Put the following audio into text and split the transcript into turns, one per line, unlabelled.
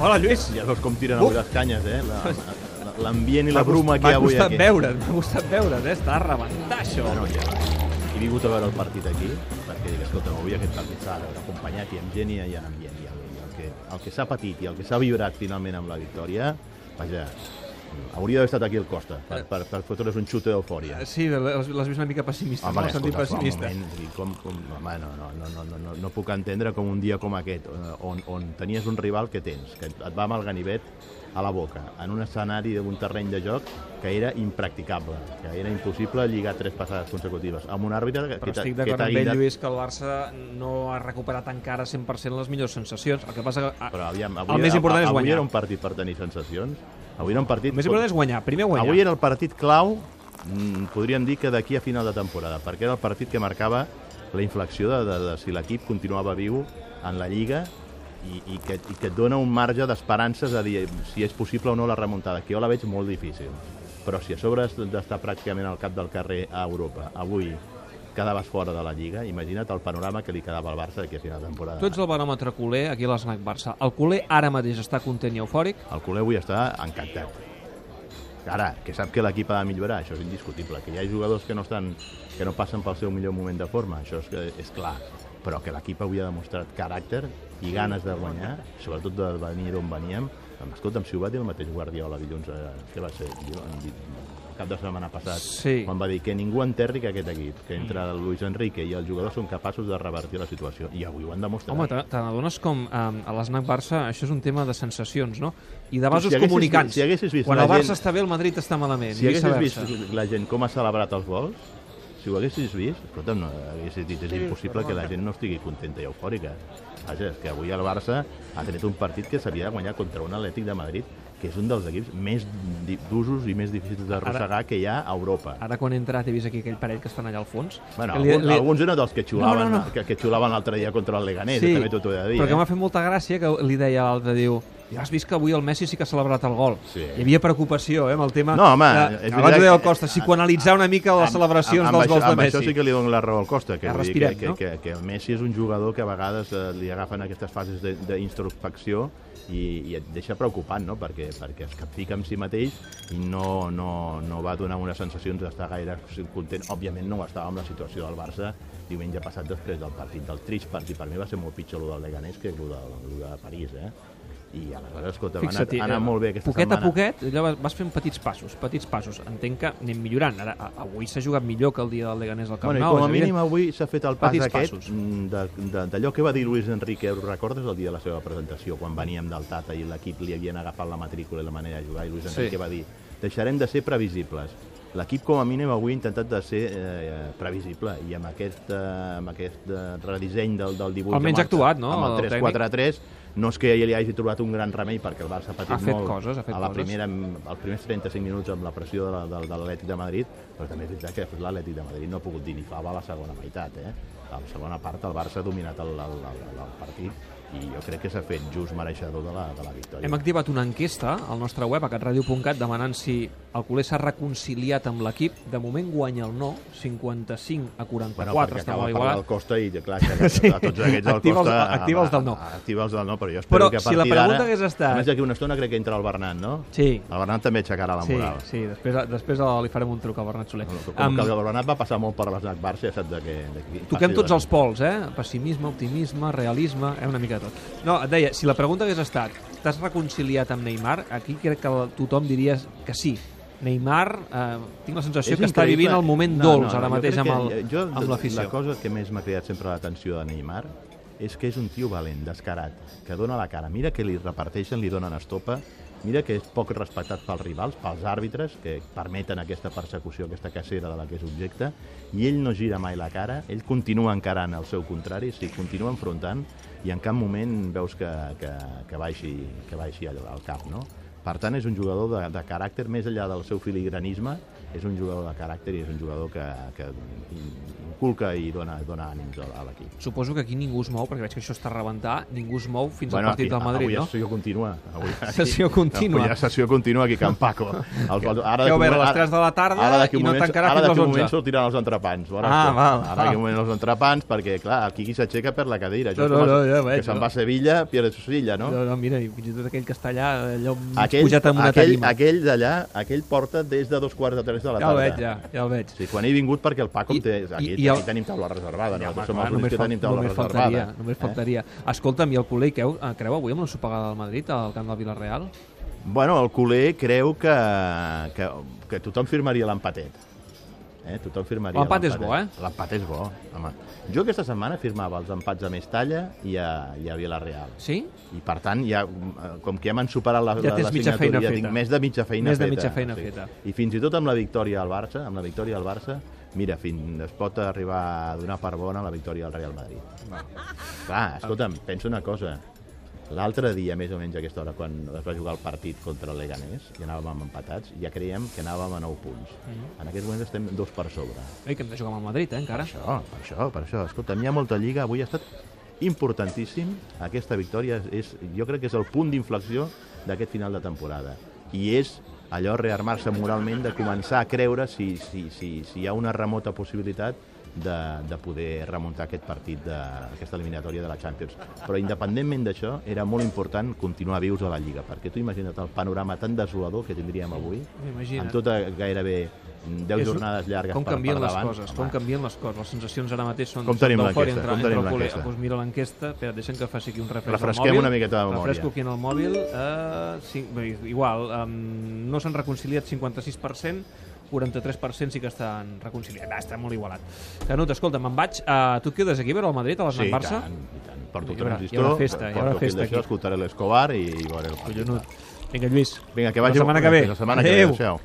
Hola, Lluís!
Ja veus com tiren avui
Uf.
les canyes, eh? La- la- la- L'ambient i la
M'ha
bruma
cost-
que hi ha avui
M'ha
aquí.
costat veure't, m'ha costat veure't, eh? Està a rebentar, això.
Bueno, ja, he vingut a veure el partit aquí, perquè dic, escolta, avui aquest partit s'ha de veure acompanyat i amb gent i en ambient. I el, i el que, el que s'ha patit i el que s'ha vibrat finalment amb la victòria, vaja, hauria d'haver estat aquí el Costa, per, per, per fotre's un xute d'eufòria.
Sí, l'has l'has vist una mica pessimista, no? sentit
Ah, escolta, fa un
pessimista.
moment, vull dir, com, com, home, no, no, no, no, no, no, no puc entendre com un dia com aquest, eh, on, on tenies un rival que tens, que et va amb el ganivet a la boca, en un escenari d'un terreny de joc que era impracticable, que era impossible lligar tres passades consecutives, amb un àrbitre que,
Però
que t'ha-
estic
que
d'acord
t'ha
amb ell,
guindat
Lluís, que el Barça no ha recuperat encara 100% les millors sensacions. El que passa que ah,
Però aviam, avui,
el més important és
avui
guanyar.
era un partit per tenir sensacions. Avui era un partit...
el més important és guanyar. Primer guanyar.
Avui era el partit clau, mm, podríem dir que d'aquí a final de temporada, perquè era el partit que marcava la inflexió de, de, de si l'equip continuava viu en la Lliga i, i, que, i que et dona un marge d'esperances de dir si és possible o no la remuntada, que jo la veig molt difícil. Però si a sobre has d'estar pràcticament al cap del carrer a Europa, avui quedaves fora de la Lliga, imagina't el panorama que li quedava al Barça d'aquí a final de temporada.
Tu ets el baròmetre culer aquí a l'Snac Barça. El culer ara mateix està content i eufòric.
El culer avui està encantat. Ara, que sap que l'equip ha de millorar, això és indiscutible, que hi ha jugadors que no, estan, que no passen pel seu millor moment de forma, això és, que- és clar, però que l'equip avui ha demostrat caràcter i ganes de guanyar, sobretot de venir d'on veníem. Em- Escolta'm, si ho va dir el mateix Guardiola dilluns, eh, què va ser? Jo, em dic, el cap de setmana passat,
Sí.
quan va dir que ningú enterri que aquest equip, que entre el Luis Enrique i els jugadors són capaços de revertir la situació, i avui ho han demostrat.
Home, te, te n'adones com um, a l'Snac Barça això és un tema de sensacions, no? I de vasos
Si haguessis
comunicants.
vist- si haguessis vist
Quan
la
el Barça
gent-
està bé, el Madrid està malament.
Si
i
haguessis
viceversa.
vist la gent com ha celebrat els gols, si ho haguessis vist, escolta, no, haguessis dit és impossible que la gent no estigui contenta i eufòrica. Vaja, és que avui el Barça ha tret un partit que s'havia de guanyar contra un Atlètic de Madrid, que és un dels equips més di- d'usos i més difícils d'arrossegar que hi ha a Europa.
Ara quan he entrat he vist aquí aquell parell que estan allà al fons.
Bueno,
que li-
algun,
li-
alguns eren dels que
No,
xulaven,
no, no.
que, que xulaven l'altre dia contra el Leganés, sí, també t'ho he de dir.
però que
eh?
m'ha fet molta gràcia que li deia a l'altre, diu, ja has vist que avui el Messi sí que ha celebrat el gol.
Sí.
Hi havia preocupació, eh, amb el tema...
No, home,
eh,
és veritat
abans ho deia el
que-
Costa, psicoanalitzar una mica les celebracions
amb, amb
dels gols
això,
de Messi.
Amb això sí que li dono la raó al Costa, que,
Ja
vull dir
respirem,
que,
no?
que, que, que el Messi és un jugador que a vegades eh, li agafen aquestes fases de- d'introspecció i, i et deixa preocupant, no? perquè, perquè es capfica amb si mateix i no, no, no va donar unes sensacions d'estar gaire content. Òbviament no ho estava amb la situació del Barça diumenge passat després del partit, del trist partit. Per mi va ser molt pitjor el del Leganés que el de, el de París, eh? I aleshores, escolta, ha anat,
Fixa-t'hi,
ha anat
eh,
molt bé aquesta
poquet
setmana.
a poquet, allò vas, vas fent petits passos, petits passos. Entenc que anem millorant. Ara, a- avui s'ha jugat millor que el dia del Leganés al Camp
Bueno, i
Nou.
com a
és
mínim
evident.
avui s'ha fet el pas
Petits
aquest
passos.
mm, de- de- d'allò que va dir Luis Enrique, ho recordes el dia de la seva presentació, quan veníem del Tata i l'equip li havien agafat la matrícula i la manera de jugar, i Luis
Sí.
Enrique va dir deixarem de ser previsibles. L'equip com a mínim avui ha intentat de ser eh, previsible i amb aquest, eh, amb aquest eh, redisseny del, del 18
Almenys
de març,
ha actuat, no,
amb
el
el
tècnic?
3-4-3, no és que ell li hagi trobat un gran remei perquè el Barça ha patit
Ha fet
molt
coses, ha fet
a la
coses.
primera eren els primers 35 minuts amb la pressió de, la- de, de l'Atlètic de Madrid, però també és veritat que després l'Atlètic de Madrid no ha pogut dir ni fava a la segona meitat. Eh? A la segona part el Barça ha dominat el, el, el, el partit i jo crec que s'ha fet just mereixedor de la, de la victòria.
Hem activat una enquesta al nostre web, a catradio.cat, demanant si el culer s'ha reconciliat amb l'equip. De moment guanya el no, 55 a 44.
Bueno, perquè
estava
acaba de parlar
igualat.
del Costa i, clar, que sí. a tots aquests el
Activa els-
Costa...
activa els del no.
a- Activa els del no, però jo espero
Però
que a
si la
partir d'ara...
pregunta hagués estat-
A més, d'aquí una estona crec que entra el Bernat, no?
Sí.
El Bernat també aixecarà la
Sí,
moral.
sí, després, després li farem un truc al Bernat Soler.
Com
Em-
que el Bernat va passar molt per l'esnac Barça, ja saps de què... de qui-
Toquem
faci
tots
de-
els pols, eh? Pessimisme, optimisme, realisme, eh? una mica de tot. No, et deia, si la pregunta hagués estat t'has reconciliat amb Neymar, aquí crec que tothom diria que sí. Neymar, eh, tinc la sensació que està
increïble.
vivint el moment
No,
dolç
no, no,
ara
jo
mateix
crec
amb,
que,
el,
eh, jo,
amb l'afició.
La cosa que més m'ha cridat sempre l'atenció de Neymar és que és un tio valent, descarat, que dona la cara. Mira que li reparteixen, li donen estopa, mira que és poc respectat pels rivals, pels àrbitres, que permeten aquesta persecució, aquesta cacera de la que és objecte, i ell no gira mai la cara, ell continua encarant el seu contrari, s'hi continua enfrontant, i en cap moment veus que, que, que baixi, que baixi al, al cap, no? Per tant, és un jugador de, de caràcter més enllà del seu filigranisme és un jugador de caràcter i és un jugador que, que inculca i dona, dona ànims a, a l'equip.
Suposo que aquí ningú es mou, perquè veig que això està a rebentar, ningú es mou fins
Bueno,
al partit
aquí-
del Madrid,
avui
no?
Avui sessió contínua. Avui, aquí-
Sessió contínua.
Avui hi ha sessió contínua aquí a Can Paco. Els, els, ara
Que
d'aquí un
obert a
moment-
les 3 de la tarda
ara d'aquí
i
un
no
moment-
tancarà
ara
fins
d'aquí
als
un moment
11.
sortiran els entrepans. veuràs
Ah,
tu.
val,
Ara
val.
d'aquí un moment els entrepans, perquè, clar, aquí qui s'aixeca perd la cadira.
No,
Això és
no,
com
no,
a-
ja veig,
que se'n
no.
va a Sevilla, pierde su silla, no?
No, no, mira, i fins i tot aquell que està allà, allò aquell,
Aquell,
pujat amb una
aquell,
tarima.
aquell d'allà, aquell porta des de dos quarts de tres de la
ja el
tarda.
veig, ja, ja el veig.
Sí, quan he vingut perquè el Paco
I-
I, té...
i-
Aquí,
i el-
aquí tenim taula reservada, no?
Home,
Ja, som
clar,
els únics Ah, que
fal-
tenim taula
només
reservada. eh?
faltaria, només faltaria. Escolta'm, i el culer, creu, eh, creu avui amb la sopegada del Madrid al camp del Villarreal?
Bueno, el culer creu que, que, que tothom firmaria l'empatet. Eh? Tothom firmaria
L'empat és bo, eh?
L'empat és bo, home. Jo aquesta setmana firmava els empats a Mestalla i a, i a Vilareal.
Sí?
I per tant, ja, eh, com que ja m'han superat la,
Ja
la,
tens
la
mitja feina
signatura, ja tinc
feta.
més de mitja feina
Més de
feta.
mitja feina feta.
I fins i tot amb la victòria al Barça, amb la victòria al Barça, mira, fins es pot arribar a donar per bona la victòria al Real Madrid. Clar, escolta'm, pensa una cosa. L'altre dia, més o menys a aquesta hora, quan es va jugar el partit contra el Leganés, i anàvem empatats, ja creiem que anàvem a 9 punts.
Mhm.
En aquests moments estem dos per sobre.
Ei, que hem de jugar amb el Madrid, eh, encara.
Per això, per això, per això. Escolta'm, hi ha molta lliga, avui ha estat importantíssim. Aquesta victòria és, jo crec que és el punt d'inflexió d'aquest final de temporada. I és allò rearmar-se moralment de començar a creure si, si, si, si hi ha una remota possibilitat de, de poder remuntar aquest partit, de, aquesta eliminatòria de la Champions. Però independentment d'això, era molt important continuar vius a la Lliga, perquè tu imagina't el panorama tan desolador que tindríem avui,
M'imagino.
amb tota gairebé 10
És-
jornades llargues
Com
per, per
canvien les
davant.
coses, com canvien les coses. Les sensacions ara mateix són...
Com tenim
d'eufòria
l'enquesta?
entre-
Com
entre
tenim
el culer.
l'enquesta?
Doncs mira l'enquesta, espera, deixa'm que faci aquí un refresc
Refresquem
al mòbil.
una miqueta de memòria.
Refresco aquí en el mòbil. Eh, sí, bé, igual, um, no s'han reconciliat 56%, 43% sí que estan reconciliats. Ah, està molt igualat. Canut, escolta, me'n vaig. Uh, tu et quedes aquí a veure el Madrid a les
Sí, i
Barça?
tant, i tant. Porto
Hi haurà-
transistor,
hi haurà festa, hi
porto
haurà
fil
festa
d'això,
aquí.
Escoltaré l'Escobar i, i veuré el partit.
Collonut. Vinga, Lluís.
Vinga, que
la
vagi...
setmana que ve.
La setmana que ve.
Adéu.
Adéu.